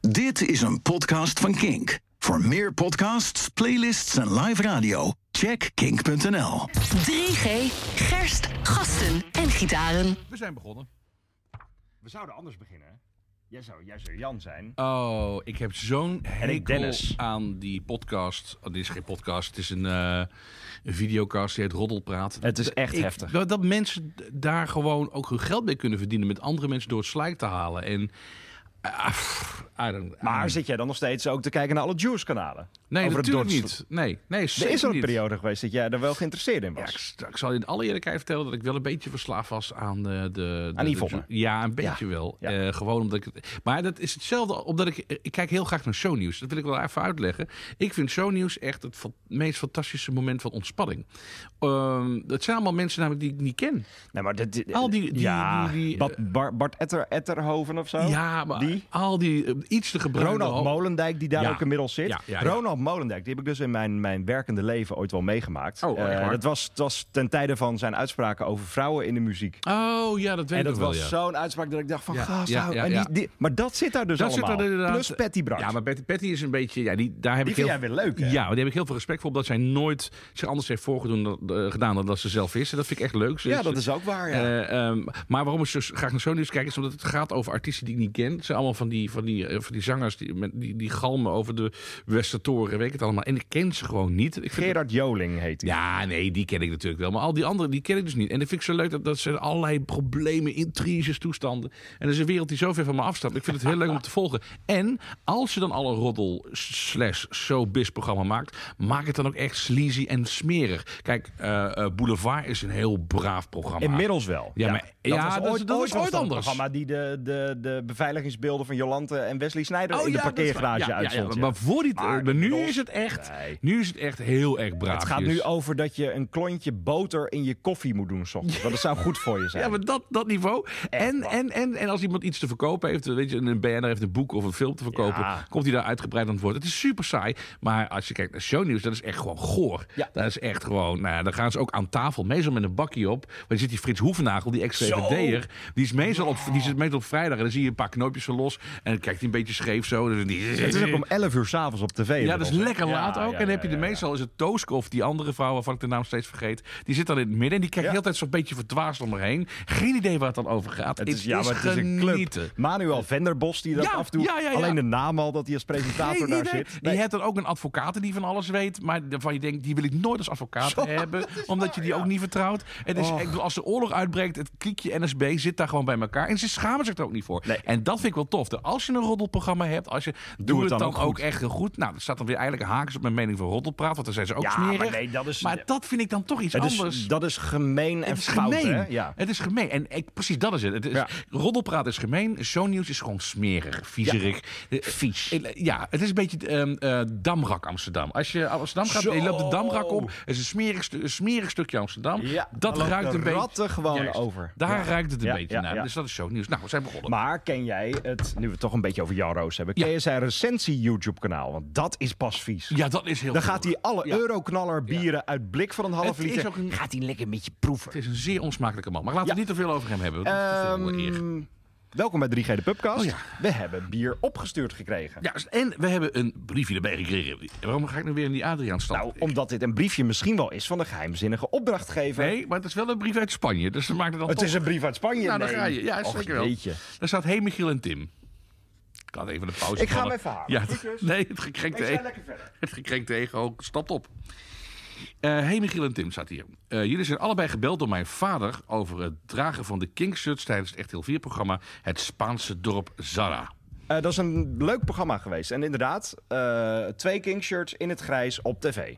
Dit is een podcast van Kink. Voor meer podcasts, playlists en live radio, check kink.nl. 3G, gerst, gasten en gitaren. We zijn begonnen. We zouden anders beginnen. hè? Jij zou, jij zou Jan zijn. Oh, ik heb zo'n hekel Dennis. aan die podcast. Oh, dit is geen podcast, het is een, eh, een videocast die heet Roddelpraat. Het is echt Ik- heftig. Dat, dat mensen d- daar gewoon ook hun geld mee kunnen verdienen met andere mensen door het slijk te halen. En, ah, pff, I don't- Maar zit jij dan nog steeds ook te kijken naar alle Juice-kanalen? nee, over het natuurlijk Duits- niet. Nee, nee, Er zeker is al een niet. periode geweest dat jij er wel geïnteresseerd in Ja, ik, was. s- ik zal je in alle eerlijkheid vertellen dat ik wel een beetje verslaafd was aan de... de, de Aan Yvonne. de- ja, een beetje wel. ja. Eh, gewoon omdat ik... het- Maar dat is hetzelfde, omdat ik... Ik kijk heel graag naar shownieuws. Dat wil ik wel even uitleggen. Ik vind shownieuws echt het fa- meest fantastische moment van ontspanning. Ehm dat zijn allemaal mensen namelijk die ik niet ken. nee, maar dit, dit- Al die- die- ja, die- die- Bart, Bar- Bart Etter, Etterhoven of zo? ja, maar Oh, die? al die eh, iets te gebruiken... Ronald Molendijk, die daar Ja. ook inmiddels zit. Ja, ja, ja. Ronald Molendijk, die heb ik dus in mijn, mijn werkende leven ooit wel meegemaakt. Oh, echt Eh, waar? dat was, het was ten tijde van zijn uitspraken over vrouwen in de muziek. Oh ja, dat En weet ik dat wel, was ja. zo'n uitspraak dat ik dacht van, Ja, gast, ja, hou- ja, en ja. Die, die- maar dat zit daar dus Dat zit er allemaal. inderdaad- Plus Patty Brandt. Ja, maar Patty, Patty is een beetje... Ja, die, daar heb Die ik heel, vind jij weer leuk, hè? Ja, maar daar heb ik heel veel respect voor. Omdat zij nooit zich anders heeft voorgedaan dan, eh, gedaan dan dat ze zelf is. En dat vind ik echt leuk. Ze ja, dat is ook waar, ja. eh, ehm, maar waarom ik zo graag naar Sony kijk, is omdat het gaat over artiesten die ik niet ken. Het zijn allemaal van die, van die, eh, van die zangers die, met- die, die galmen over de Westertoren, weet ik het allemaal. En ik ken ze gewoon niet. Ik vind Gerard Joling heet hij. ja, nee, die ken ik natuurlijk wel. Maar al die anderen, die ken ik dus niet. En dat vind ik zo leuk dat, dat ze allerlei problemen, intriges, toestanden. En dat is een wereld die zo ver van me afstaat. Ik vind het heel leuk om te volgen. En als je dan al een roddel slash showbiz programma maakt, maak het dan ook echt sleazy en smerig. Kijk, eh, eh, Boulevard is een heel braaf programma. Inmiddels wel. Ja, maar- ja, dat is- dat is ooit dat anders. Een programma die de, de, de beveiligingsbeelden van Jolante en Wesley Snijder in de dat is waar. parkeergarage Oh, Ja, ja, ja, uitzond. ja. Maar, voor die, Maar maar nu, inmiddels- is het echt, Nee. nu is het echt heel erg braaf. dus. Het gaat nu over dat je een klontje boter in je koffie moet doen, 's ochtends. Want dat zou goed voor je zijn. Ja, maar dat, dat niveau. En, en, en, en als iemand iets te verkopen heeft, weet je, een BNR heeft een boek of een film te verkopen, Ja. komt hij daar uitgebreid aan het woord. Het is super saai. Maar als je kijkt naar shownieuws, dat is echt gewoon goor. Ja. Dat is echt gewoon, nou ja, dan gaan ze ook aan tafel, meestal met een bakkie op. Want je zit die Frits Hoevenagel, die ex-VVD'er, die, is meestal op- die Ah. zit meestal op vrijdag en dan zie je een paar knoopjes zo los en dan kijkt hij een beetje scheef zo. Dus die, Het is ook om 11 uur s'avonds op tv. ja, dat is inmiddels, hè? lekker Ja, laat ja, ook. en dan heb je ja, de ja. meestal is het Tooskoff, die andere vrouw waarvan ik de naam steeds vergeet. Die zit dan in het midden en die Ja. kijkt heel de tijd zo'n beetje verdwaasd om haar heen. Geen idee waar het dan over gaat. Het is, ja, maar het is een club. Manuel Venderbos die dat Ja, af en toe... ja, ja, ja. Alleen de naam al dat hij als presentator Geen daar idee. zit. Nee. Je hebt dan ook een advocaat die van alles weet, maar waarvan je denkt, die wil ik nooit als advocaat hebben, omdat je die ook niet vertrouwt. Het Oh. is, ik bedoel, als de oorlog uitbreekt, het kliekje NSB zit daar gewoon bij elkaar en ze schamen zich er ook niet voor. Nee. En dat vind ik wel tof. Dat Als je een roddelprogramma hebt, als je, doe, het dan, ook, echt heel goed. Nou, dat staat dan weer eigenlijk haaks op mijn mening voor roddelpraat, want dan zijn ze ook Ja, smerig. maar nee, dat is- Maar dat vind ik dan toch iets Het is- anders. dat is gemeen en Het is fout, gemeen. hè? Ja. Het is gemeen. En ik, precies dat is het. het is, Ja. Roddelpraat is gemeen. Zo'n nieuws is gewoon smerig, viezerig. Eh, eh, Ja, het is een beetje ehm, eh, Damrak Amsterdam. Als je Amsterdam gaat, Zo. je loopt de Damrak op. Het is een smerig, stu- een smerig stukje Amsterdam. Ja, dat dan loopt ruikt de een beetje... ratten gewoon Juist. over. Daar Ja. ruikt het een Ja, beetje ja, naar. ja. Dus dat is zo'n nieuws. Nou, we zijn begonnen. Maar ken jij het, nu we het toch een beetje over Jan Roos hebben, ken Ja. je zijn recensie YouTube kanaal? Want dat is pas vies. ja, dat is heel Dan goed. gaat hij alle Ja. euroknaller bieren uit blik van een half Het is liter. ook een- Gaat hij lekker een beetje proeven. Het is een zeer onsmakelijke man. Maar laten we Ja. niet te veel over hem hebben. want Dat is te veel eer. Ehm, welkom bij 3G de Pubcast. Oh ja. We hebben bier opgestuurd gekregen. Ja, en we hebben een briefje erbij gekregen. Waarom ga ik nu weer in die Adriaan-stand? Nou, omdat dit een briefje misschien wel is van de geheimzinnige opdrachtgever. Nee, maar het is wel een brief uit Spanje. Dus dat maakt het dan Het toch... is een brief uit Spanje. Nou, daar nee. ga je. Ja, Och, zeker wel. jeetje. Daar staat hey Michiel en Tim. Ik had even de pauze. Ik ga vallen. hem even halen. Ja, Groetjes. nee, het gekrenkte Ik ga ego. lekker verder. Het gekrenkte ego stapt op. Eh hey Michiel en Tim staat hier. Eh, jullie zijn allebei gebeld door mijn vader over het dragen van de Kingshirt tijdens het Echt Heel 4 programma Het Spaanse dorp Zara. Eh, dat is een leuk programma geweest. En inderdaad, eh, twee King shirts in het grijs op tv.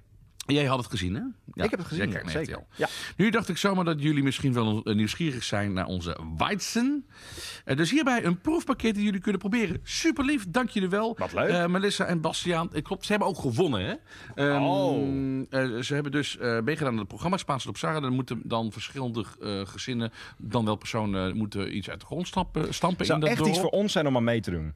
Jij had het gezien, hè? Ja, Ik heb het gezien, jij kijkt naar zeker. RTL. Ja. Nu dacht ik zomaar dat jullie misschien wel eh, nieuwsgierig zijn naar onze Weizen. Eh, dus hierbij een proefpakket die jullie kunnen proberen. Super lief, dank jullie wel. Wat leuk. Eh, Melissa en Bastiaan, eh, klopt, ze hebben ook gewonnen, hè? Ehm, Oh. eh, ze hebben dus eh, meegedaan aan het programma Spaanse op Sarah. Dan moeten dan verschillende eh, gezinnen, dan wel personen, moeten iets uit de grond stampen. stampen Het zou in dat echt dorp. iets voor ons zijn om aan mee te doen.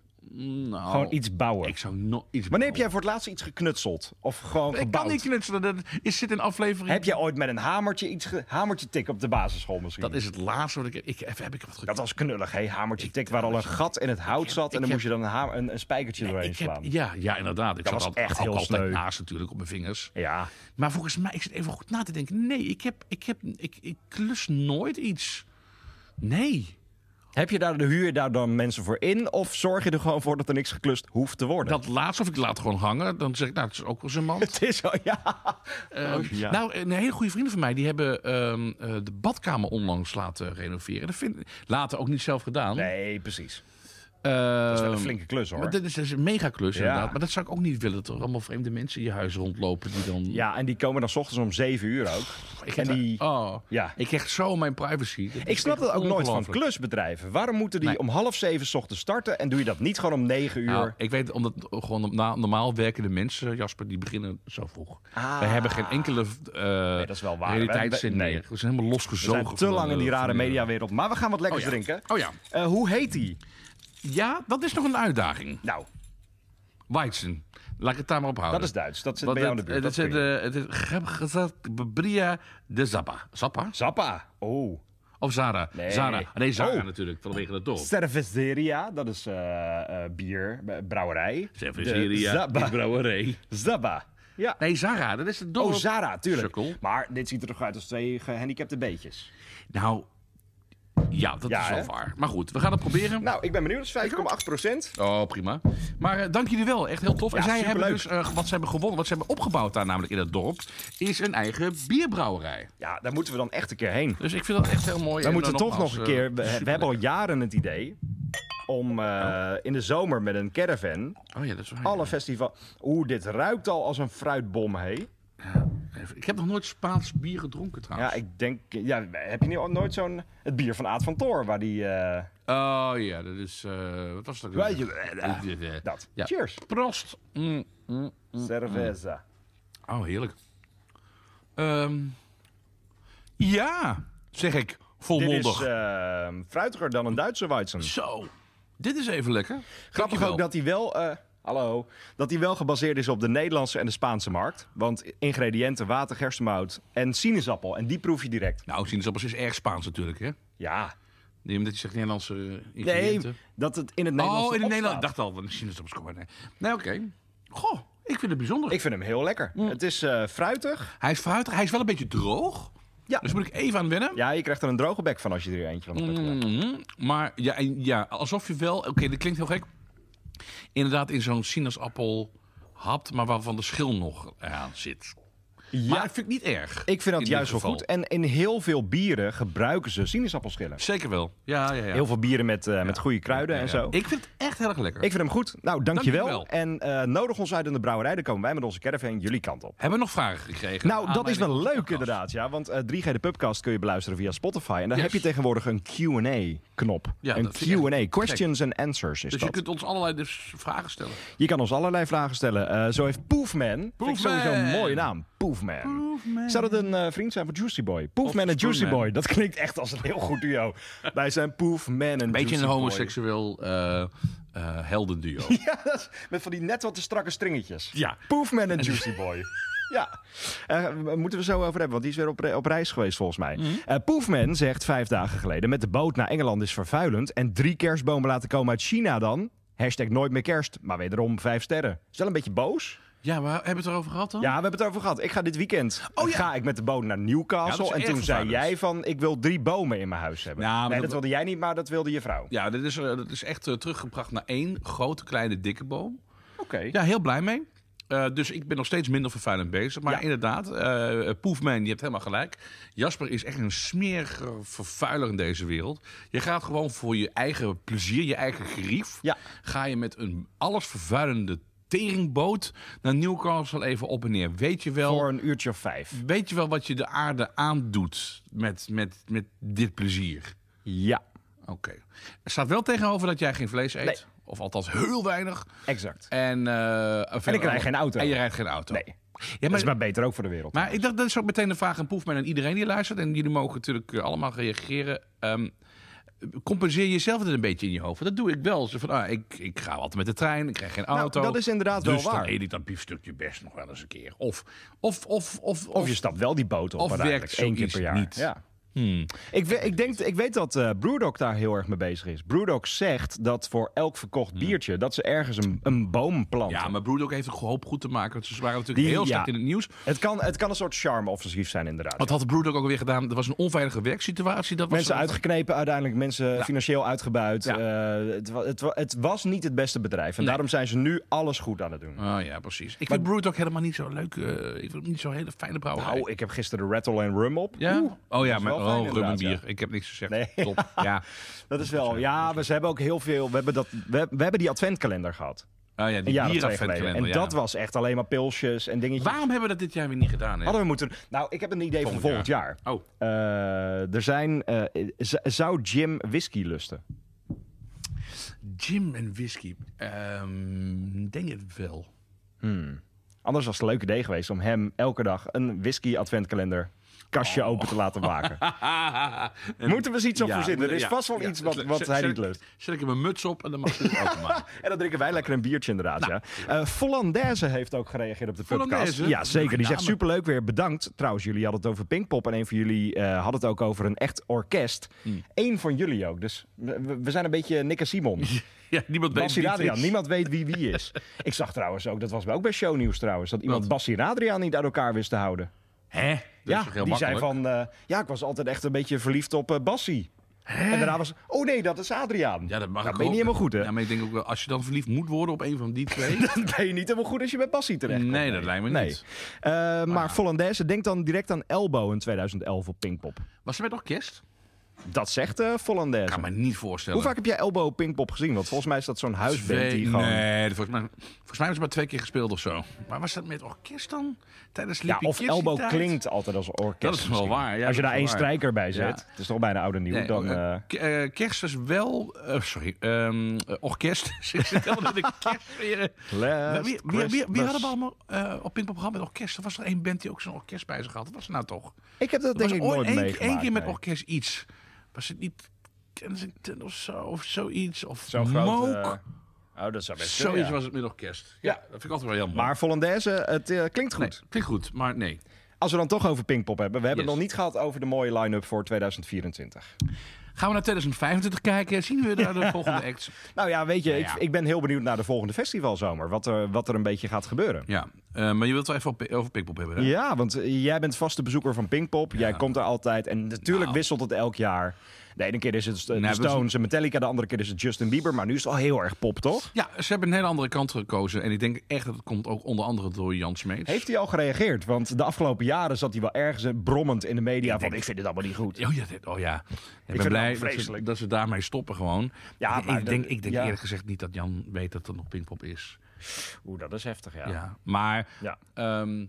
Nou, Gewoon iets bouwen. Ik zou nog iets. Wanneer heb jij voor het laatst iets geknutseld? Of gewoon Ik kan gebouwd? niet knutselen. Dat is zit in aflevering. Heb jij ooit met een hamertje iets ge- hamertje tik op de basisschool misschien? Dat is het laatste wat ik heb. Ik, even, heb ik wat Dat was knullig, hè? Hamertje tik, waar al een gat in het hout zat. En ik dan heb- moest je dan een, hamer- een, een spijkertje doorheen ik heb, slaan. ja, ja, inderdaad. Ik Dat zat was al- echt al- heel altijd sneu. naast natuurlijk op mijn vingers. Ja. Maar volgens mij, ik zit even goed na te denken. Nee, ik, heb, ik, heb, ik, ik klus nooit iets. Nee. Heb je daar, huur je daar dan mensen voor in? Of zorg je er gewoon voor dat er niks geklust hoeft te worden? Dat laatste, of ik laat het gewoon hangen, dan zeg ik, nou, het is ook wel zijn man. Het is zo, ja. Oh, ja. Nou, een hele goede vrienden van mij, die hebben ehm, eh, de badkamer onlangs laten renoveren. Dat vind, later ook niet zelf gedaan. Nee, precies. Ehm, Dat is wel een flinke klus, hoor. Maar dat is, dat is een megaklus inderdaad. Ja. Maar dat zou ik ook niet willen. Dat er allemaal vreemde mensen in je huis rondlopen die dan... Ja, en die komen dan 's ochtends om 7 uur ook. ik en heb- die- oh, Ja. Ik krijg zo mijn privacy. Dat Ik is snap echt dat ook nooit van ongelooflijk. klusbedrijven. Waarom moeten die Nee. om half zeven 's ochtends starten en doe je dat niet gewoon om 9 uur? Nou, ik weet omdat gewoon na, normaal werkende mensen, eh, Jasper, die beginnen zo vroeg. Ah. We hebben geen enkele eh dat is wel waar. realiteitszin We- we- nee. meer. We zijn helemaal We losgezogen. zijn te van, lang in eh, die van rare die- mediawereld. Maar we gaan wat Oh lekkers ja. drinken. Oh ja. Eh, hoe heet die? ja, dat is nog een uitdaging. Nou, Weizen. Laat ik het daar maar op houden. dat is Duits. Dat zit Want bij jou in het- de buurt. Het Dat is kun je. eh, het is Geb- gezat- Bria de Zappa. Zappa? Zappa. Oh. Of Zara? Nee. Zara. Nee, Zara Oh. natuurlijk, vanwege dat dorp. Cerveceria, dat is eh, eh, bier, eh, brouwerij. Cerveceria, De die Zappa. brouwerij. Zappa. Ja. Nee, Zara, dat is het dorp. Oh, Zara, tuurlijk. Sukkel. Maar dit ziet er toch uit als twee gehandicapte beetjes. Nou, ja, dat Ja, is wel hè? waar. Maar goed, we gaan het proberen. Nou, ik ben benieuwd. Dat is 5,8 procent. Oh, prima. Maar eh, dank jullie wel. Echt heel tof. en zij hebben superleuk. dus, eh, wat ze hebben gewonnen, wat ze hebben opgebouwd daar namelijk in dat dorp, is een eigen bierbrouwerij. Ja, daar moeten we dan echt een keer heen. Dus ik vind dat echt heel mooi. We En, moeten eh, toch nog nogmaals, een eh, keer. We, we hebben al jaren het idee om eh, in de zomer met een caravan Oh ja, dat is waar. alle festival. Oeh, dit ruikt al als een fruitbom, hé. Even- Ik heb nog nooit Spaans bier gedronken Ja, trouwens. ik denk. Ja, heb je nu al nooit zo'n. Het bier van Aad van Toor, waar die. eh, Oh ja, dat is... eh, wat was dat? Eh, Weet je- eh, dat. Ja. Cheers. Prost. Mm. Cerveza. Oh, heerlijk. Ehm, ja, zeg ik Dit volmondig. is eh, fruitiger dan een Duitse Weizen. Zo, dit is even lekker. Grappig Dankjewel. ook dat hij wel. eh, Hallo. Dat die wel gebaseerd is op de Nederlandse en de Spaanse markt. Want ingrediënten, water, gerstemout en sinaasappel. En die proef je direct. Nou, sinaasappels is erg Spaans natuurlijk, hè? Ja, Nee, omdat je zegt Nederlandse Nee, ingrediënten. dat het in het Nederlands. eh, oh, in opstaat. het Nederland. Ik dacht al, van sinaasappels komen. Nee, eh. nee oké. Goh, ik vind het bijzonder. Ik vind hem heel lekker. Het is eh, fruitig. Hij is fruitig, hij is wel een beetje droog. Ja. Dus moet ik even aan wennen. Ja, je krijgt er een droge bek van als je er eentje van hebt. gedaan. Mhm. Maar ja, en, ja, alsof je wel... Oké, dat klinkt heel gek. Inderdaad in zo'n sinaasappel hapt, maar waarvan de schil nog aan zit. Maar Ja, dat vind ik niet erg. ik vind dat in juist wel dit geval. goed. En in heel veel bieren gebruiken ze sinaasappelschillen. Zeker wel. Ja, ja, ja. Heel veel bieren met, eh, met goede kruiden en Ja. zo. Ik, Ik vind het echt heel erg lekker. vind hem goed. Nou, dankjewel. En Dankjewel. eh, nodig ons uit in de brouwerij. Dan komen wij met onze caravan jullie kant op. Hebben we nog vragen gekregen? Nou, dat is wel Aanleiding- leuk inderdaad. Ja, want eh, 3G de Pubcast kun je beluisteren via Spotify. En daar Yes. heb je tegenwoordig een Q&A-knop. Ja, een dat vind ik Q&A, echt questions and answers is Dus dat. je kunt ons allerlei dus vragen stellen. Je kan ons allerlei vragen stellen. Eh, zo heeft Poefman. Vind ik Poefman. sowieso een mooie naam. Poefman. Zou dat een eh, vriend zijn van Juicy Boy? Poefman en Juicy Spoonman. Boy. Dat klinkt echt als een heel goed duo. Wij zijn Poefman en Juicy Beetje een Boy. homoseksueel eh, eh, heldenduo. Ja, dat is- met van die net wat te strakke stringetjes. Ja. Poefman en Juicy Boy. Ja, Eh, we- moeten we zo over hebben, want die is weer op, re- op reis geweest volgens mij. Eh, Poefman zegt vijf dagen geleden... met de boot naar Engeland is vervuilend... en drie kerstbomen laten komen uit China dan... Hashtag nooit meer kerst, maar wederom vijf sterren. Is dat een beetje boos? Ja, maar hebben we het erover gehad dan? Ja, we hebben het over gehad. Ik ga dit weekend eh, ga ik met de boot naar Newcastle. Oh, Ja, dat is en toen echt zei vervuilend. jij van, ik wil drie bomen in mijn huis hebben. Ja, maar nee, dat dat- wilde jij niet, maar dat wilde je vrouw. Ja, dit is, eh, dat is echt eh, teruggebracht naar één grote, kleine, dikke boom. Oké. Ja, heel blij mee. Eh, dus ik ben nog steeds minder vervuilend bezig. Maar Ja. inderdaad, eh Poefman, je hebt helemaal gelijk. Jasper is echt een smerige vervuiler in deze wereld. Je gaat gewoon voor je eigen plezier, je eigen gerief. Ja. Ga je met een alles vervuilende teringboot naar Newcastle even op en neer. Weet je wel, Voor een uurtje of vijf. weet je wel wat je de aarde aandoet met, met, met dit plezier? Ja, Oké. Er staat wel tegenover dat jij geen vlees eet. Nee. Of althans heel weinig. exact. En, eh, verder- ik rijd geen auto. En je rijdt geen auto. Nee, Ja, dat maar, is maar beter ook voor de wereld. maar ik dacht, dat is ook meteen een vraag aan Poefman en iedereen die luistert. En jullie mogen natuurlijk eh, allemaal reageren. Ehm, compenseer jezelf het een beetje in je hoofd. Want Dat doe ik wel. Zo van, ah, ik, ik ga altijd met de trein, ik krijg geen Nou, auto. dat is inderdaad dus wel waar. dan eet ik dat biefstukje best nog wel eens een keer. Of, of, of, of, Of je stapt wel die boot op. Of maar werkt eigenlijk één keer per zoiets jaar. niet. Hmm. Ja. Ik, we- ik, denk, ik weet dat eh Brewdog daar heel erg mee bezig is. Brewdog zegt dat voor elk verkocht biertje... dat ze ergens een, een boom planten. Hmm. Ja, maar Broedok heeft een hoop goed te maken. Want ze waren natuurlijk Die- heel ja. sterk in het nieuws. het, kan, het kan een soort charme-offensief zijn inderdaad. Wat had Broedok ook alweer gedaan? Er was een onveilige werksituatie. Dat was mensen uitgeknepen, uiteindelijk mensen financieel uitgebuit. Ja. Eh, het, wa- het, wa- het was niet het beste bedrijf. En daarom zijn ze nu alles goed aan het doen. Ah ja, precies. Ik vind Broedok helemaal niet zo leuk. eh, ik vind hem niet zo'n hele fijne brouwerij. Nou, ik heb gisteren de Rattle and Rum op. ja? Oeh, oh ja, is maar wel fijn oh, inderdaad, rum bier. Ik heb niks gezegd. Nee. Top. Ja. dat is wel. Ja, maar ze hebben ook heel veel. We hebben, dat, we, we hebben die adventkalender gehad. Ah ja, Een die jaar of bier twee geleden. En dat was echt alleen maar pilsjes en dingetjes. Waarom hebben we dat dit jaar weer niet gedaan? Hè? Hadden we moeten. Nou, ik heb een idee voor Volgend volgend jaar. Oh, Eh, er zijn. eh, z- zou Jim whisky lusten? gin en whisky. Ehm, denk het wel. Anders was het een leuk idee geweest om hem elke dag een whisky adventkalender Oh. kastje open te laten maken. Moeten we eens iets op Ja, verzinnen? Er is ja, vast wel ja. iets wat, Zet- wat zet- hij zet niet ik- lust. Zet ik hem een muts op en dan mag ze het ook maken. En dan drinken wij lekker een biertje inderdaad. Nou. ja. Eh Volandaise heeft ook gereageerd op de podcast. Volandaise? Ja, zeker. Die Leuke zegt naam. superleuk weer. Bedankt. Trouwens, jullie hadden het over Pinkpop. En een van jullie eh, had het ook over een echt orkest. Hmm. Eén van jullie ook. Dus we, we zijn een beetje Nick en Simon. Ja, niemand weet Bassi wie het Adriaan. is. Niemand weet wie wie is. Ik zag trouwens ook, dat was ook bij shownieuws trouwens, dat iemand Wat? Bassi en Adriaan niet uit elkaar wist te houden. Hè? Dat is Ja, toch heel die zei makkelijk? van, eh, ja, ik was altijd echt een beetje verliefd op eh, Bassie. En daarna was, oh nee, dat is Adriaan. Ja, dat mag nou, ben ik je ook. niet helemaal goed, hè? Ja, maar ik denk ook wel, als je dan verliefd moet worden op een van die twee... Dan ben je niet helemaal goed als je bij Bassie terecht Nee, dat lijkt me niet. Eh, Ah, maar Volandaise, denk dan direct aan Elbow in 2011 op Pinkpop. Was ze met orkest? Dat zegt eh Volandaise. Ik kan me niet voorstellen. Hoe vaak heb jij Elbow op Pinkpop gezien? Want volgens mij is dat zo'n huisband die Twee- gewoon... Nee, volgens mij, volgens mij hebben ze maar twee keer gespeeld of zo. Maar was dat met orkest dan? Tijdens Ja, Sleepy of Kids die Elbow tijd? klinkt altijd als orkest. Dat is wel misschien. waar, ja, als je dat daar is één wel waar. strijker bij zet, Ja. het is toch bijna oude nieuw. Nee, dan, eh, eh, k- eh, kerst is wel... eh, sorry, ehm, eh, orkest. Ik zit helemaal in de kerst weer, eh. Last Wie, wie, wie, wie hadden Christmas. we allemaal eh, op Pinkpop gehad met orkest? Er was er één band die ook zo'n orkest bij zich had. Wat was het nou toch? Ik heb dat Er denk was ik ooit nooit één- meegemaakt. één keer met nee. orkest iets. Was het niet Kensington of zo? Of zoiets? Of Zo'n groot, Mook? eh, oh, dat zou best zoiets kunnen, ja. was het met orkest. Ja, Ja. dat vind ik altijd wel heel mooi. Maar Volandaise, het eh, klinkt Nee, goed. klinkt goed, maar nee. Als we dan toch over Pinkpop hebben. We hebben Yes. het nog niet gehad over de mooie line-up voor 2024. Gaan we naar 2025 kijken? Zien we daar de volgende acts? Nou ja, weet je, Nou Ik, ja. ik ben heel benieuwd naar de volgende festivalzomer. Wat er, wat er een beetje gaat gebeuren. Ja, eh, maar je wilt wel even op, over Pinkpop hebben, hè? Ja, want eh, jij bent vaste bezoeker van Pinkpop. Jij komt daar altijd. En natuurlijk Nou. wisselt het elk jaar. De ene keer is het eh, de Nou, dat is- Stones en Metallica. De andere keer is het Justin Bieber. Maar nu is het al heel erg pop, toch? Ja, ze hebben een hele andere kant gekozen. En ik denk echt dat het komt ook onder andere door Jan Smeets. Heeft hij al gereageerd? Want de afgelopen jaren zat hij wel ergens eh, brommend in de media. van, ik vind het allemaal niet goed. Oh ja, dit- oh ja. Ik het ben blij allemaal dat ze, vreselijk. dat ze daarmee stoppen gewoon. Ja, ik, maar ik denk, dat- ik denk ja. eerlijk gezegd niet dat Jan weet dat er nog Pinkpop is. Oeh, dat is heftig, ja. Ja. Maar Ja. ehm,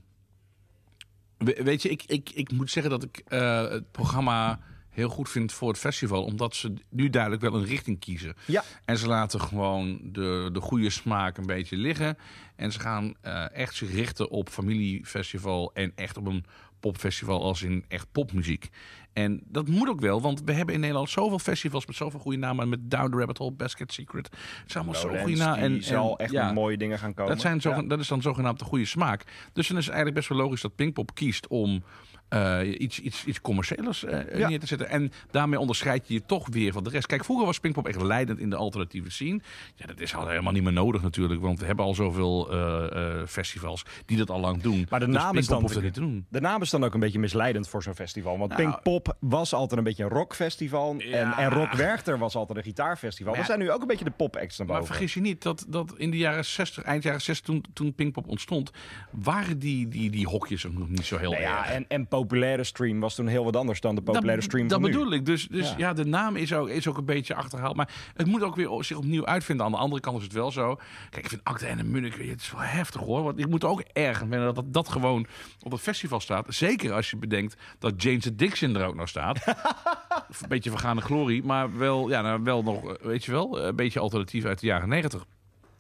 we- weet je, ik, ik, ik moet zeggen dat ik eh, het programma heel goed vind voor het festival. Omdat ze nu duidelijk wel een richting kiezen. Ja. En ze laten gewoon de, de goede smaak een beetje liggen. En ze gaan eh, echt zich richten op familiefestival en echt op een popfestival als in echt popmuziek. En dat moet ook wel, want we hebben in Nederland zoveel festivals met zoveel goede namen. Met Down the Rabbit Hole, Basket Secret. Het zijn allemaal zo'n goede namen. en, En, zal en- echt ja. met mooie dingen gaan komen. Dat, zijn Ja. zogen- dat is dan zogenaamd de goede smaak. Dus dan is het eigenlijk best wel logisch dat Pinkpop kiest om eh, iets, iets, iets commerciëlers eh, Ja. neer te zetten. En daarmee onderscheid je je toch weer van de rest. Kijk, vroeger was Pinkpop echt leidend in de alternatieve scene. Ja, dat is al helemaal niet meer nodig natuurlijk. Want we hebben al zoveel eh, eh, festivals die dat al lang doen. Maar de Dus naam is Pinkpop dan hoeft te- dat niet te doen. De naam is dan ook een beetje misleidend voor zo'n festival. Want Nou. Pinkpop was altijd een beetje een rockfestival. En, Ja. en Rock Werchter was altijd een gitaarfestival. We Maar- zijn nu ook een beetje de pop-acts naar Maar boven. vergis je niet dat, dat in de jaren 60, eind jaren 60, toen, toen Pinkpop ontstond, waren die, die, die hokjes ook nog niet zo heel Nou ja, erg. en, en populaire stream was toen heel wat anders dan de populaire dat, stream Dat van bedoel nu. ik. Dus, dus Ja. ja. de naam is ook, is ook een beetje achterhaald. Maar het moet ook weer o- zich opnieuw uitvinden. Aan de andere kant is het wel zo. Kijk, ik vind Acte en de Munnik, het is wel heftig hoor. Want ik moet er ook erg aan wennen dat, dat dat gewoon op het festival staat. Zeker als je bedenkt dat James Addiction er ook nog staat. een beetje eh, vergaande glorie, maar wel, ja, nou, wel nog, eh, weet je wel, een beetje alternatief uit de jaren negentig.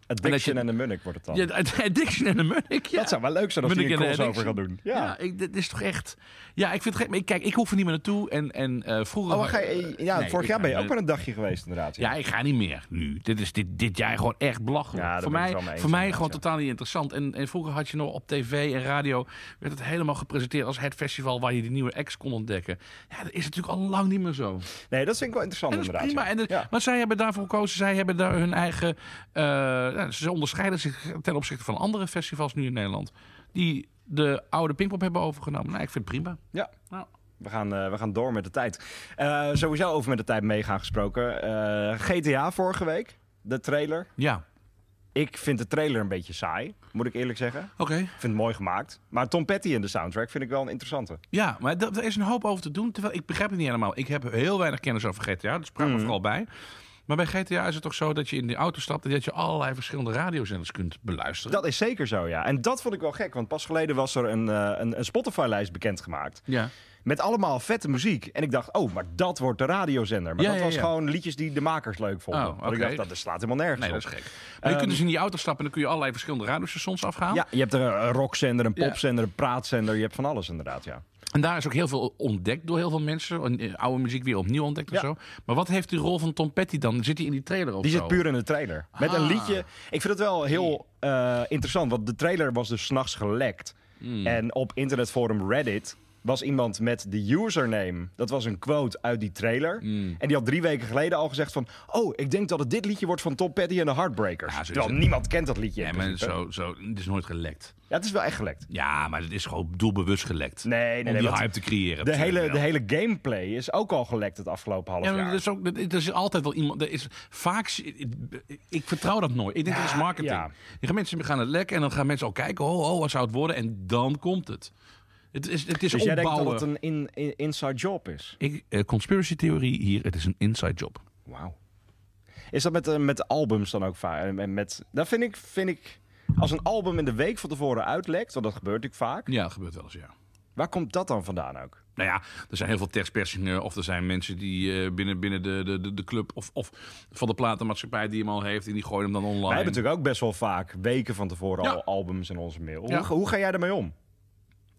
Addiction je- en de Munnik wordt het dan. Ja, Addiction en de Munnik, ja. Dat zou wel leuk zijn als Munnik hij een en de crossover gaat Addiction. doen. Ja, Ja. ik, dit is toch echt... Ja, ik vind het gek. maar ik- Kijk, ik hoef er niet meer naartoe. En, en eh, vroeger... Oh, maar ga je, ja Nee, vorig ik- jaar ben je ook eh, maar een dagje geweest inderdaad. Ja, ik ga niet meer nu. Dit is dit, dit jaar gewoon echt belachelijk. Ja, daar voor ben ik mij, het wel mee eens voor mij inderdaad, gewoon ja. totaal niet interessant. En, en vroeger had je nog op tv en radio... werd het helemaal gepresenteerd als het festival... waar je die nieuwe ex kon ontdekken. Ja, dat is natuurlijk al lang niet meer zo. Nee, dat vind ik wel interessant En dat is inderdaad. prima. ja. En het- Ja. Maar zij hebben daarvoor gekozen. Zij hebben daar hun eigen. eh, nou, ze onderscheiden zich ten opzichte van andere festivals nu in Nederland. Die de oude Pinkpop hebben overgenomen. Nou, ik vind het prima. Ja. Nou. We gaan, eh, we gaan door met de tijd. Eh, sowieso over met de tijd meegaan gesproken. Eh, GTA vorige week, de trailer. Ja, Ik vind de trailer een beetje saai, moet ik eerlijk zeggen. oké. Ik vind het mooi gemaakt. Maar Tom Petty in de soundtrack vind ik wel een interessante. Ja, maar dat- er is een hoop over te doen. Terwijl ik begrijp het niet helemaal. Ik heb heel weinig kennis over GTA. Dat Mhm. sprak me dus vooral bij. Maar bij GTA is het toch zo dat je in die auto stapt en dat je allerlei verschillende radiozenders kunt beluisteren. Dat is zeker zo, ja. En dat vond ik wel gek, want pas geleden was er een, eh, een, een Spotify-lijst bekendgemaakt. Ja. Met allemaal vette muziek. En ik dacht, oh, maar dat wordt de radiozender. Maar Ja, dat ja, was ja. gewoon liedjes die de makers leuk vonden. Oh, Want oké. ik dacht, dat, dat slaat helemaal nergens Nee, op. dat is gek. Maar je kunt dus in die auto stappen en dan kun je allerlei verschillende radiostations afgaan. Ehm, Ja, je hebt er een rockzender, een Ja. popzender, een praatzender. Je hebt van alles inderdaad, ja. En daar is ook heel veel ontdekt door heel veel mensen. En, eh, Oude muziek weer opnieuw ontdekt Ja. of zo. Maar wat heeft die rol van Tom Petty dan? Zit hij in die trailer of Die zo? zit puur in de trailer. Met een Ah. liedje. Ik vind het wel heel eh, interessant, want de trailer was dus s'nachts gelekt. Hmm. En op internetforum Reddit was iemand met de username. Dat was een quote uit die trailer. Hmm. En die had drie weken geleden al gezegd van... Oh, ik denk dat het dit liedje wordt van Tom Petty en de Heartbreakers. Ja, zo is Terwijl het. niemand kent dat liedje. in Ja, maar principe. zo, zo, het is nooit gelekt. Ja, het is wel echt gelekt. Ja, maar het is gewoon doelbewust gelekt. Nee, nee, Om nee, die want hype te creëren. De hele, natuurlijk de wel. hele gameplay is ook al gelekt het afgelopen half Ja, maar jaar. er is, ook, er is altijd wel iemand. Er is vaak, ik vertrouw dat nooit. Ik denk dat is marketing. ja. Je gaat mensen gaan het lekken en dan gaan mensen al kijken. Oh, oh, wat zou het worden? En dan komt het. Het is, het is Dus jij opbouwen. denkt dat het een in, in- inside job is? Ik, eh, conspiracy theorie hier. Het is een inside job. Wauw. Is dat met, eh, met albums dan ook vaak? En- en Met, dat vind ik, vind ik, als een album in de week van tevoren uitlekt, want dat gebeurt natuurlijk vaak. Ja, dat gebeurt wel eens, ja. Waar komt dat dan vandaan ook? Nou ja, er zijn heel veel tekstpersingen. Of er zijn mensen die eh, binnen, binnen de, de, de, de club of, of van de platenmaatschappij die hem al heeft. En die gooien hem dan online. Wij hebben natuurlijk ook best wel vaak weken van tevoren Ja. al albums in onze mail. Ja. Hoe, hoe ga jij ermee om?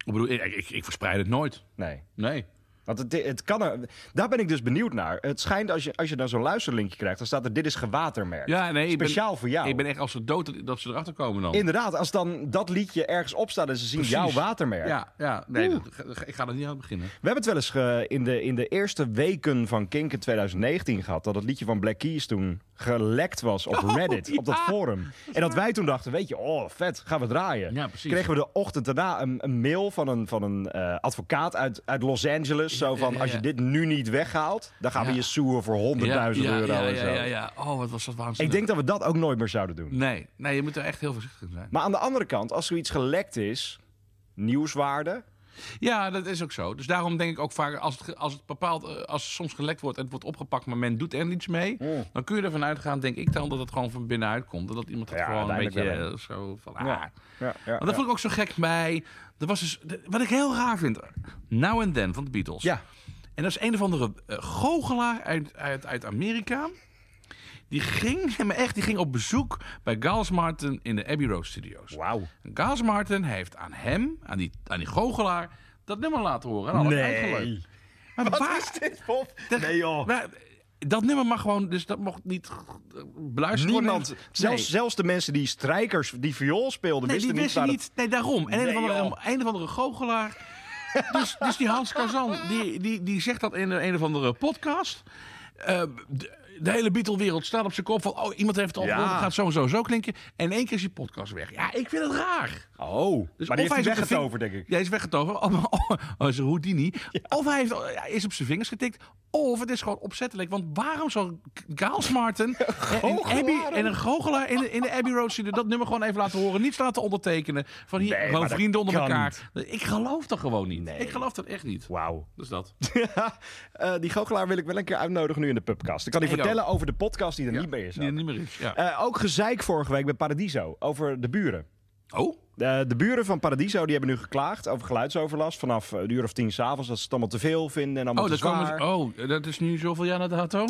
Ik bedoel, ik, ik, ik verspreid het nooit. Nee. Nee. Want het, het kan er, daar ben ik dus benieuwd naar. Het schijnt als je, als je dan zo'n luisterlinkje krijgt, dan staat er: Dit is gewatermerkt. Ja, nee. ik ben- Speciaal voor jou. Ik ben echt als ze dood dat ze erachter komen dan. Inderdaad, als dan dat liedje ergens op staat en ze zien Precies. jouw watermerk. Ja, ja. Nee, dat- ga- ga- ik ga er niet aan beginnen. We hebben het wel eens ge- in, de, in de eerste weken van Kink in 2019 gehad. Dat het liedje van Black Keys toen gelekt was op Oh, Reddit, op dat forum. En dat wij toen dachten, weet je, oh vet, gaan we draaien. Ja, precies. Kregen we de ochtend daarna een, een mail van een, van een eh, advocaat uit, uit Los Angeles. Zo van, ja, als je ja. dit nu niet weghaalt, dan gaan we Ja. je soeren voor 100.000 ja, ja, euro ja, en zo. ja, ja, ja. Oh, wat was dat waanzinnig. Ik denk dat we dat ook nooit meer zouden doen. Nee, nee, je moet er echt heel voorzichtig in zijn. Maar aan de andere kant, als zoiets gelekt is, nieuwswaarde, Ja, dat is ook zo. Dus daarom denk ik ook vaak, als het, ge- als het bepaald, eh, als het soms gelekt wordt en het wordt opgepakt, maar men doet er niets mee, dan kun je ervan uitgaan, denk ik dan, dat het gewoon van binnenuit komt. En dat iemand het Ja, gewoon een beetje uiteindelijk wel, eh, zo van, ah. Ja. Ja, ja, Want dat ja. vond ik ook zo gek bij, dat was dus, de- wat ik heel raar vind, Now and Then van de Beatles. Ja. En dat is een of andere eh, goochelaar uit, uit, uit Amerika. Die ging, maar echt, die ging op bezoek bij Giles Martin in de Abbey Road Studios. Wauw. Gaas Martin heeft aan hem, aan die, aan die goochelaar, dat nummer laten horen. En alles Oh, uitgeleukt. Maar waar Wat is dit, Bob? de- Nee, joh. maar dat nummer mag gewoon, dus dat mocht niet eh, beluisterd Niemand, worden. zelfs, Nee. zelfs de mensen die strijkers, die viool speelden, Nee, die wisten wisten niet, niet. Nee, daarom. En een, Nee, of andere, joh. een of andere goochelaar. dus, dus die Hans Kazan, die, die, die zegt dat in een, een of andere podcast. Eh, de, de hele Beatle-wereld staat op zijn kop van... oh, iemand heeft het al Ja. gehoord, het gaat zo en zo en zo klinken. En in één keer is die podcast weg. Ja, ik vind het raar. waar- Oh, Dus maar die of heeft hij is op zijn weggetoverd, ving- denk ik. Ja, hij is weggetoverd. Oh, maar- oh, oh, is een Houdini. Of hij heeft, hij is op zijn vingers getikt. Of het is gewoon opzettelijk. Want waarom zou Gaals Martin en, en, Abby, en een goochelaar in, de- in de Abbey Road Studio dat nummer gewoon even laten horen? Niets laten ondertekenen. Van hier Nee, maar gewoon dat vrienden onder kan elkaar. Ik geloof dat gewoon niet. Nee. Ik geloof dat echt niet. Wauw. Dus dat. Eh, die goochelaar wil ik wel een keer uitnodigen nu in de pubcast. Ik kan die Ik vertellen over de podcast die er niet meer is. Die ook. er niet meer is. Ja. Eh, ook gezeik vorige week bij Paradiso over de buren. oh, Eh, de buren van Paradiso die hebben nu geklaagd over geluidsoverlast vanaf eh, een uur of tien s'avonds. Dat ze het allemaal te veel vinden en allemaal oh, te dat komen, zwaar. ze- oh, dat is nu zoveel jaar na dato?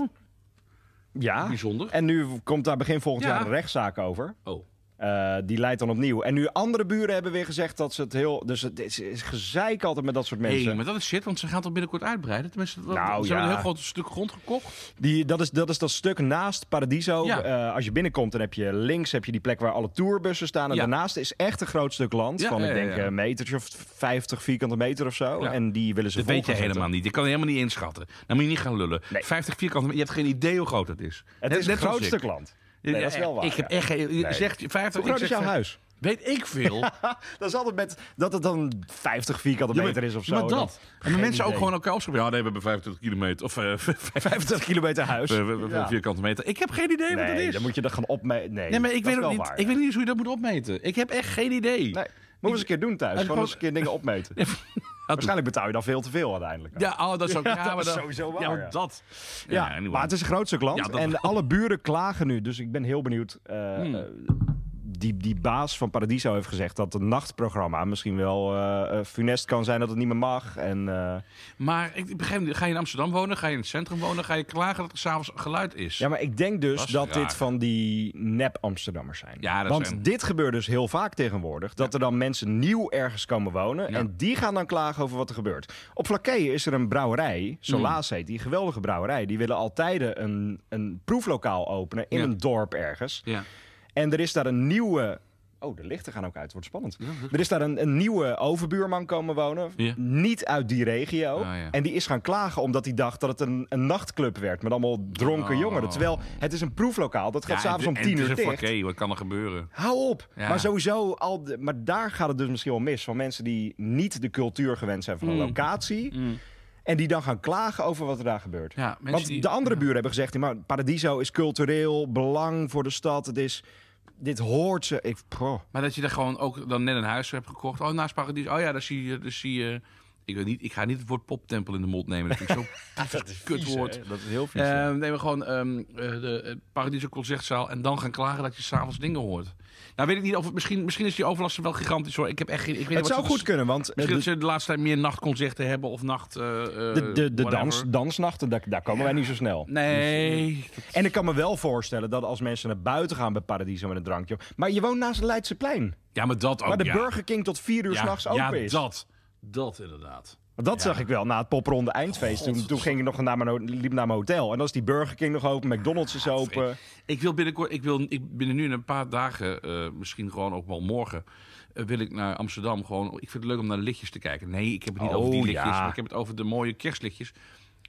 Ja. Bijzonder. En nu komt daar begin volgend Ja. jaar een rechtszaak over. Oh. Eh, die leidt dan opnieuw. En nu andere buren hebben weer gezegd dat ze het heel... Dus het is, is gezeik altijd met dat soort mensen. hey, maar dat is shit, want ze gaan toch binnenkort uitbreiden? Tenminste, dat- Nou, ze ja. hebben een heel groot stuk grond gekocht. Die, dat, is, dat is dat stuk naast Paradiso. Ja. Eh, als je binnenkomt, dan heb je links heb je die plek waar alle tourbussen staan. En Ja. daarnaast is echt een groot stuk land. Ja, van, ja, ik ja, denk, ja. een metertje of 50 vierkante meter of zo. Ja. En die willen ze Dat vol weet je gaan zetten. helemaal niet. Je kan het helemaal niet inschatten. Dan moet je niet gaan lullen. Nee. 50 vierkante meter, je hebt geen idee hoe groot dat is. Het Net- is net een groot als ik. stuk land. Nee, dat is wel waar. Ik heb ja. echt geen... je Nee. Zegt 50... Hoe groot ik is zeg jouw huis? Weet ik veel. Dat is altijd met dat het dan 50 vierkante Ja, maar- meter is of zo. ja, Maar dat. En Geen mensen ook idee. gewoon elkaar opschrijven. Ja, nee, we hebben 25 kilometer. Of eh, 50 kilometer huis. Eh, we- we- Ja. vierkante meter. Ik heb geen idee wat dat Nee, is. dan moet je dat gaan opmeten. Nee, nee, maar ik dat weet is ook wel niet. waar, ik ja. weet niet eens hoe je dat moet opmeten. Ik heb echt geen idee. Nee, moet eens een keer doen thuis. Hij Gewoon eens een gewoon- keer dingen opmeten. Waarschijnlijk betaal je dan veel te veel uiteindelijk. Ja, oh, dat is ook. Ja, dat maar is dan- sowieso waar, Ja, maar ja. dat. Ja, anyway. maar het is een groot stuk land. Ja, dat- Hmm. En alle buren klagen nu. Dus ik ben heel benieuwd. eh, eh, die, die baas van Paradiso heeft gezegd dat het nachtprogramma misschien wel eh, eh, funest kan zijn dat het niet meer mag. En, eh, Maar ik begrijp niet. Ga je in Amsterdam wonen? Ga je in het centrum wonen? Ga je klagen dat er s'avonds geluid is? ja, maar ik denk dus Dat dat, is raar. dit van die nep-Amsterdammers zijn. Ja, dat Want zijn- dit gebeurt dus heel vaak tegenwoordig. Dat er dan mensen nieuw ergens komen wonen. Ja. En die gaan dan klagen over wat er gebeurt. Op Flakkeien is er een brouwerij, Solaas Hmm. heet die, geweldige brouwerij. Die willen altijd een, een proeflokaal openen in Ja. een dorp ergens. Ja. En er is daar een nieuwe. Oh, de lichten gaan ook uit. Het wordt spannend. Er is daar een, een nieuwe overbuurman komen wonen. Ja. Niet uit die regio. Ah, ja. En die is gaan klagen omdat hij dacht dat het een, een nachtclub werd. Met allemaal dronken Oh. jongeren. Terwijl het is een proeflokaal. Dat gaat Ja, s'avonds en- om en tien het is uur een dicht. vlakke, wat kan er gebeuren? Hou op. Ja. Maar sowieso al. de- maar daar gaat het dus misschien wel mis. Van mensen die niet de cultuur gewend zijn Mm. van een locatie. En die dan gaan klagen over wat er daar gebeurt. Ja, mensen Want die- de andere buren hebben gezegd: maar Paradiso is cultureel belang voor de stad. Het is. Dit hoort ze. Ik, pro. Maar dat je daar gewoon ook dan net een huis hebt gekocht. Oh, naast Paradies. Oh ja, daar zie je. Daar zie je ik, weet niet, ik ga niet het woord poptempel in de mond nemen. Dat vind ik zo'n typisch kutwoord. Dat is heel vies. Ehm nee, maar gewoon ehm, eh, de eh, Paradiso Concertzaal en dan gaan klagen dat je s'avonds dingen hoort. Nou, weet ik niet of het, misschien, misschien is die overlast wel gigantisch hoor. Ik heb echt geen. Ik weet niet het wat zou ze- dus goed kunnen, want eh, Misschien de, dat ze de laatste tijd meer nachtconcerten hebben of nacht. eh, de, eh, de, de whatever. dans, dansnachten, daar, daar komen wij niet zo snel. Nee. En ik kan me wel voorstellen dat als mensen naar buiten gaan bij Paradiso met een drankje. Maar je woont naast het Leidseplein. Ja, maar dat ook. waar de Oh, ja. Burger King tot vier uur ja, s'nachts open ja, is. dat. Dat inderdaad. Want Dat zag ik wel na het popronde eindfeest. Toen, toen ging ik nog naar mijn, ho- liep naar mijn hotel. En dan is die Burger King nog open, McDonald's is open. Ik wil binnenkort, ik wil ik binnen nu in een paar dagen, eh, misschien gewoon ook wel morgen, eh, wil ik naar Amsterdam. Gewoon, ik vind het leuk om naar lichtjes te kijken. Nee, ik heb het niet Oh, over die ja. lichtjes. maar Ik heb het over de mooie kerstlichtjes.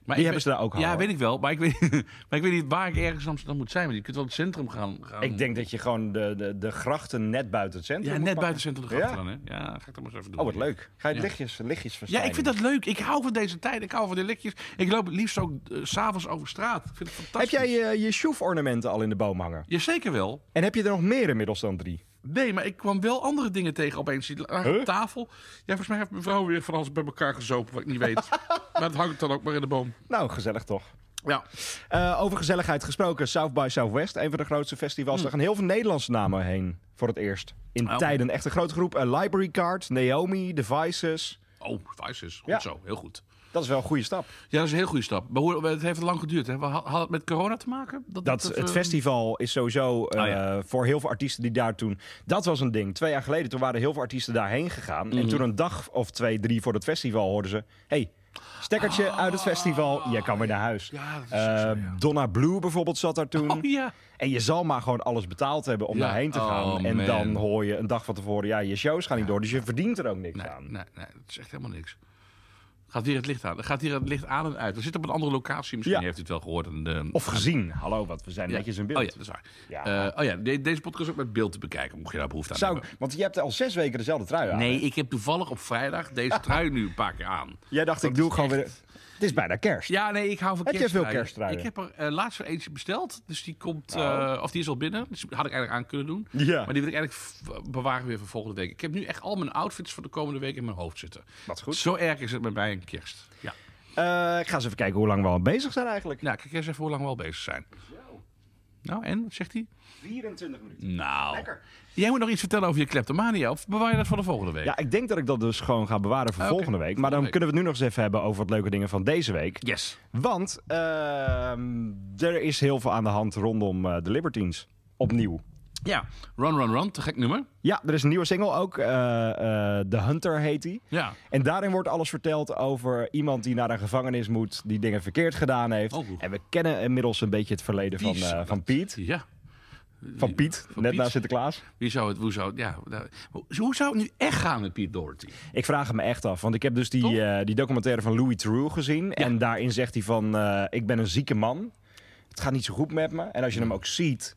Maar Die ik hebben weet- ze daar ook Ja, hangen. weet ik wel. Maar ik weet, maar ik weet niet waar ik ergens in Amsterdam moet zijn. Maar je kunt wel het centrum gaan. gaan Ik denk dat je gewoon de, de, de grachten net buiten het centrum ja, moet net buiten pakken. het centrum gaan. Ja. Dan, hè? ja, ga ik dat maar eens even doen. Oh, wat leuk. Ga je Ja. lichtjes, lichtjes Ja, verschijnen. ik vind dat leuk. Ik hou van deze tijd. Ik hou van de lichtjes. Ik loop het liefst ook eh, s s'avonds over straat. Ik vind het Heb fantastisch. jij eh, je, je sjoef-ornamenten al in de boom hangen? Jazeker wel. En heb je er nog meer inmiddels dan drie? Nee, maar ik kwam wel andere dingen tegen opeens. Die lagen Huh? op tafel. Ja, volgens mij heeft mevrouw weer van alles bij elkaar gezopen, wat ik niet weet. maar het hangt dan ook maar in de boom. Nou, gezellig toch? Ja, Eh, over gezelligheid gesproken, South by Southwest, een van de grootste festivals. Daar gaan heel veel Nederlandse namen heen voor het eerst. In Hm. Oh. tijden echt een grote groep. Eh, Library Card, Naomi, Devices. oh, Vice is. Goed Ja. zo, heel goed. Dat is wel een goede stap. Ja, dat is een heel goede stap. Maar hoe, het heeft lang geduurd, hè? Wa- Had, had het met corona te maken? Dat, het eh, festival is sowieso eh, Oh ja. voor heel veel artiesten die daar toen... Dat was een ding. Twee jaar geleden, toen waren heel veel artiesten daarheen gegaan. Mhm. En toen een dag of twee, drie voor het festival hoorden ze... hey, stekkertje uit het festival, jij kan weer naar huis. Ah. Ja, Ah, dat is Eh, ook zo, ja. Donna Blue bijvoorbeeld zat daar toen. Oh ja. En je zal maar gewoon alles betaald hebben om Ja. daarheen te gaan. Oh, en man. dan hoor je een dag van tevoren, ja, je shows gaan niet door. Dus je verdient er ook niks Nee, aan. nee, nee, dat is echt helemaal niks. Gaat weer het licht aan. Gaat hier het licht aan en uit. We zitten op een andere locatie. Misschien Ja. heeft u het wel gehoord. En, eh, Of gezien. Hallo, wat we zijn ja. netjes in beeld. Oh ja, dat is waar. Ja. Eh, oh ja, de- deze podcast is ook met beeld te bekijken. Mocht je daar behoefte aan Zou, hebben. want je hebt al zes weken dezelfde trui aan. Nee, ik heb toevallig op vrijdag deze trui nu een paar keer aan. Jij dacht, ik doe gewoon weer... Het is bijna kerst. Ja, nee, ik hou van Heb je kerstdraaien. veel kerstdraaien? Ik heb er eh, laatst weer eentje besteld. Dus die komt, eh, Oh. of die is al binnen. Dus die had ik eigenlijk aan kunnen doen. Ja. Maar die wil ik eigenlijk v- bewaren weer voor volgende week. Ik heb nu echt al mijn outfits voor de komende week in mijn hoofd zitten. Dat is goed. Zo erg is het met mij een kerst. Ja. Eh, ik ga eens even kijken hoe lang we al bezig zijn eigenlijk. Nou, kijk eens even hoe lang we al bezig zijn. Nou, en? Wat zegt hij? 24 minuten. Nou. Lekker. Jij moet nog iets vertellen over je kleptomania. Of bewaar je dat voor de volgende week? Ja, ik denk dat ik dat dus gewoon ga bewaren voor Ah, Oké, volgende week. Maar volgende dan week. kunnen we het nu nog eens even hebben over wat leuke dingen van deze week. Yes. Want ehm, er is heel veel aan de hand rondom eh, de Libertines. Opnieuw. Ja. Run, run, run. Te gek nummer. Ja, er is een nieuwe single ook. eh, eh, The Hunter heet die. Ja. En daarin wordt alles verteld over iemand die naar een gevangenis moet, die dingen verkeerd gedaan heeft. Oh. En we kennen inmiddels een beetje het verleden van, Die eh, zou- van Piet. Ja. Van Piet, Van net Piet. na Sinterklaas. Wie zou het, hoe zou het, ja. nou, Hoe zou het nu echt gaan met Pete Doherty? Ik vraag het me echt af, want ik heb dus die, Toch? eh, die documentaire van Louis Theroux gezien. En daarin zegt hij van, eh, ik ben een zieke man. Het gaat niet zo goed met me. En als je hem ook ziet...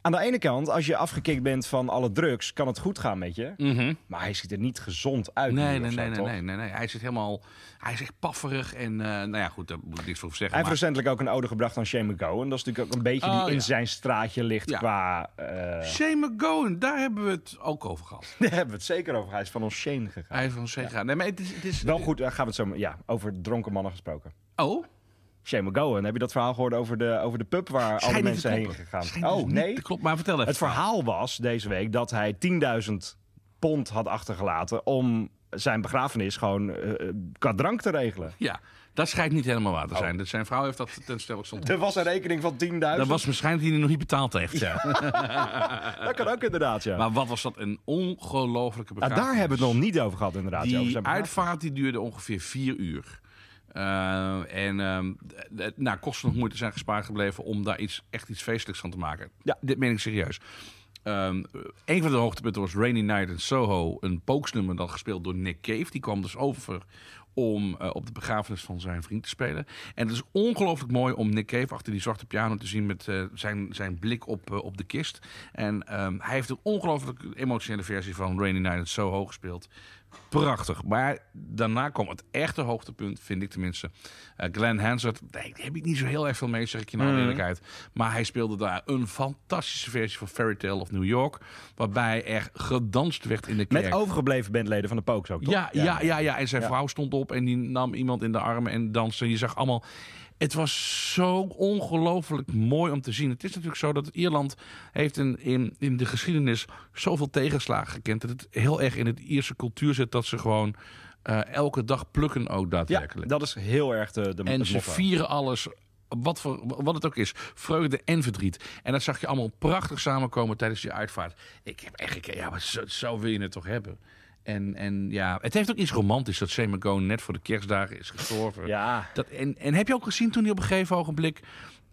Aan de ene kant, als je afgekikt bent van alle drugs, kan het goed gaan met je. Maar hij ziet er niet gezond uit. nu Nee, of nee, zo, nee, nee, toch? nee, nee, nee. Hij zit helemaal, hij is echt pafferig en, eh, nou ja, goed, daar moet ik niks voor zeggen. Hij heeft maar- recentelijk ook een ode gebracht aan Shane McGowan. Dat is natuurlijk ook een beetje die Oh, in ja. zijn straatje ligt Ja. qua... eh Shane McGowan, daar hebben we het ook over gehad. daar hebben we het zeker over. Hij is van ons Shane gegaan. Hij is van Sega. Nee, maar het is... Het is Wel goed, daar gaan we het zo... Ja, over dronken mannen gesproken. Oh, Shane McGowan, heb je dat verhaal gehoord over de, over de pub waar alle schijnt niet te mensen heen kloppen. gegaan? Schijnt dus oh, niet nee. te kloppen, maar vertel even. Het verhaal was deze week dat hij 10.000 pond had achtergelaten om zijn begrafenis gewoon eh, eh, qua drank te regelen. Ja, dat schijnt niet helemaal Oh. waar te zijn. Dus zijn vrouw heeft dat ten stel ik stond. Er was een rekening van 10.000. Dat was waarschijnlijk die hij nog niet betaald heeft. Dat kan ook inderdaad, ja. eh, Maar wat was dat een ongelofelijke Nou, begrafenis. daar hebben we het nog niet over gehad inderdaad. ja, over Die zijn begrafenis. uitvaart die duurde ongeveer vier uur. Eh, en ehm, d- d- nou, kosten nog moeite zijn gespaard gebleven om daar iets, echt iets feestelijks van te maken. Ja. Dit meen ik serieus. Ehm, een van de hoogtepunten was Rainy Night in Soho. Een pooksnummer dan gespeeld door Nick Cave. Die kwam dus over om eh, op de begrafenis van zijn vriend te spelen. En het is ongelooflijk mooi om Nick Cave achter die zwarte piano te zien... met eh, zijn, zijn blik op, eh, op de kist. En ehm, hij heeft een ongelooflijk emotionele versie van Rainy Night in Soho gespeeld. Prachtig. Maar daarna kwam het echte hoogtepunt, vind ik tenminste. Eh Glenn Hansard, daar heb ik niet zo heel erg veel mee, zeg ik je nou eerlijkheid. Maar hij speelde daar een fantastische versie van Fairy Tale of New York. Waarbij er gedanst werd in de kerk. Met overgebleven bandleden van de Pooks ook, toch? Ja, ja, ja, ja. En zijn Ja. vrouw stond op en die nam iemand in de armen en danste. Je zag allemaal. Het was zo ongelooflijk mooi om te zien. Het is natuurlijk zo dat Ierland heeft een, in, in de geschiedenis zoveel tegenslagen gekend. Dat het heel erg in het Ierse cultuur zit dat ze gewoon eh, elke dag plukken ook Ja, daadwerkelijk. dat Mm, is heel erg de, de en het ze motto. vieren alles, wat, voor, wat het ook is. Vreugde en verdriet. En dat zag je allemaal prachtig samenkomen tijdens die uitvaart. Ik heb echt gekeken, ja, maar zo, zo wil je het toch hebben? En, en ja, het heeft ook iets romantisch dat Shane McGowan net voor de kerstdagen is gestorven. Ja. Dat, en, en heb je ook gezien toen hij op een gegeven ogenblik...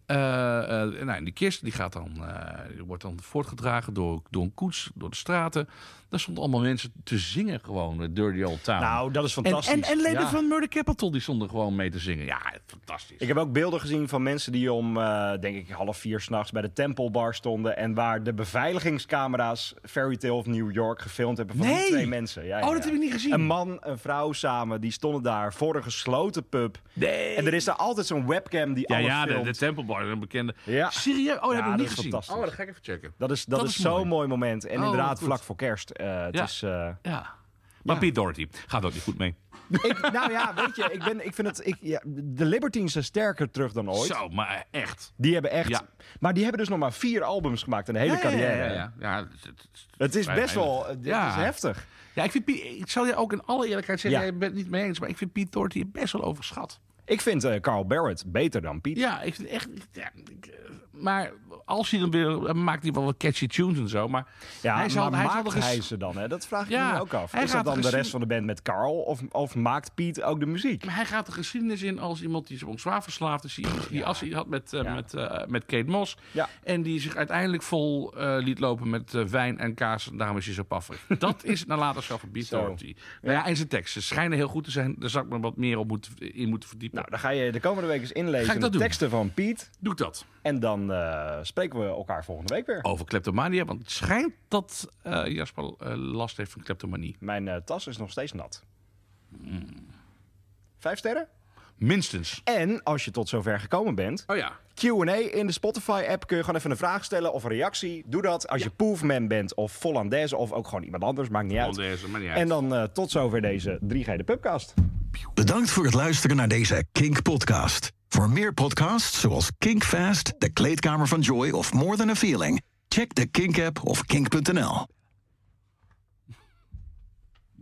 eh eh, nou, die kist die gaat dan, eh, die wordt dan voortgedragen door, door een koets, door de straten. Daar stonden allemaal mensen te zingen gewoon, eh, Dirty Old Town. Nou, dat is en, fantastisch. en, en leden Ja. van Murder Capital die stonden gewoon mee te zingen. Ja, fantastisch. Ik heb ook beelden gezien van mensen die om, eh, denk ik, half vier s'nachts bij de Tempelbar stonden. En waar de beveiligingscamera's Fairy Tale of New York gefilmd hebben van die Nee! twee mensen. Ja, ja, Oh, dat ja. heb ik niet gezien. Een man, een vrouw samen, die stonden daar voor een gesloten pub. Nee. En er is daar altijd zo'n webcam die ja, alles ja, de, filmt. de Tempelbar, een bekende. Ja. Serieus? Oh, dat Ja, heb ik dat niet is gezien. fantastisch. Oh, dat ga ik even checken. Dat is, dat dat is, is mooi. zo'n mooi moment. En Oh, inderdaad, goed. vlak voor kerst. Eh, het Ja. is, eh, Ja. Maar Pete Doherty gaat ook niet goed mee. ik, nou ja, weet je, ik, ben, ik vind het... Ik, ja, de Libertines zijn sterker terug dan ooit. Zo, maar echt. Die hebben echt... Ja. Maar die hebben dus nog maar vier albums gemaakt in de hele carrière. Ja, ja, ja. het- het- Het is vrij best wel... weinig. Het Ja. is heftig. Ja, ik vind Piet, ik zal je ook in alle eerlijkheid zeggen, Ja. jij bent het niet mee eens, maar ik vind Pete Doherty best wel overschat. Ik vind eh, Carl Barrett beter dan Piet. Ja, ik vind echt. Ja, ik, eh, maar als hij dan weer. dan maakt hij wel wat catchy tunes en zo. Maar Ja, hij zal, maar hij zal maakt er eens- hij ze dan? Hè? Dat vraag ik Ja, me ook af. hij Is dat gaat dan de gezien- rest van de band met Carl? Of, of maakt Piet ook de muziek? Maar hij gaat de geschiedenis in als iemand die zo'n zwaar verslaafd is. Die, die assie had met, eh, Ja. met, eh, met Kate Moss. Ja. En die zich uiteindelijk vol eh, liet lopen met eh, wijn en kaas. En daarom is hij zo paffig. Dat is het nalatenschap van Beat Zo. Doherty. Nou ja, en zijn teksten schijnen heel goed te zijn. Daar zou ik me wat meer op moeten, in moeten verdiepen. Nou, dan ga je de komende week eens inlezen Ga ik de dat doen? teksten van Piet. Doe ik dat. En dan eh, spreken we elkaar volgende week weer. Over kleptomania. Want het schijnt dat eh, Jasper eh, last heeft van kleptomanie. Mijn eh, tas is nog steeds nat. Hmm. Vijf sterren? Minstens. En als je tot zover gekomen bent, Oh ja. Q&A in de Spotify-app kun je gewoon even een vraag stellen of een reactie. Doe dat als je Poefman bent of Vollandaise of ook gewoon iemand anders, maakt niet uit. Vollandaise, maakt niet uit. En dan eh, tot zover deze 3G de Pubcast. Bedankt voor het luisteren naar deze Kink Podcast. Voor meer podcasts zoals Kink Fast, De Kleedkamer van Joy of More Than a Feeling, check de Kink app of kink.nl.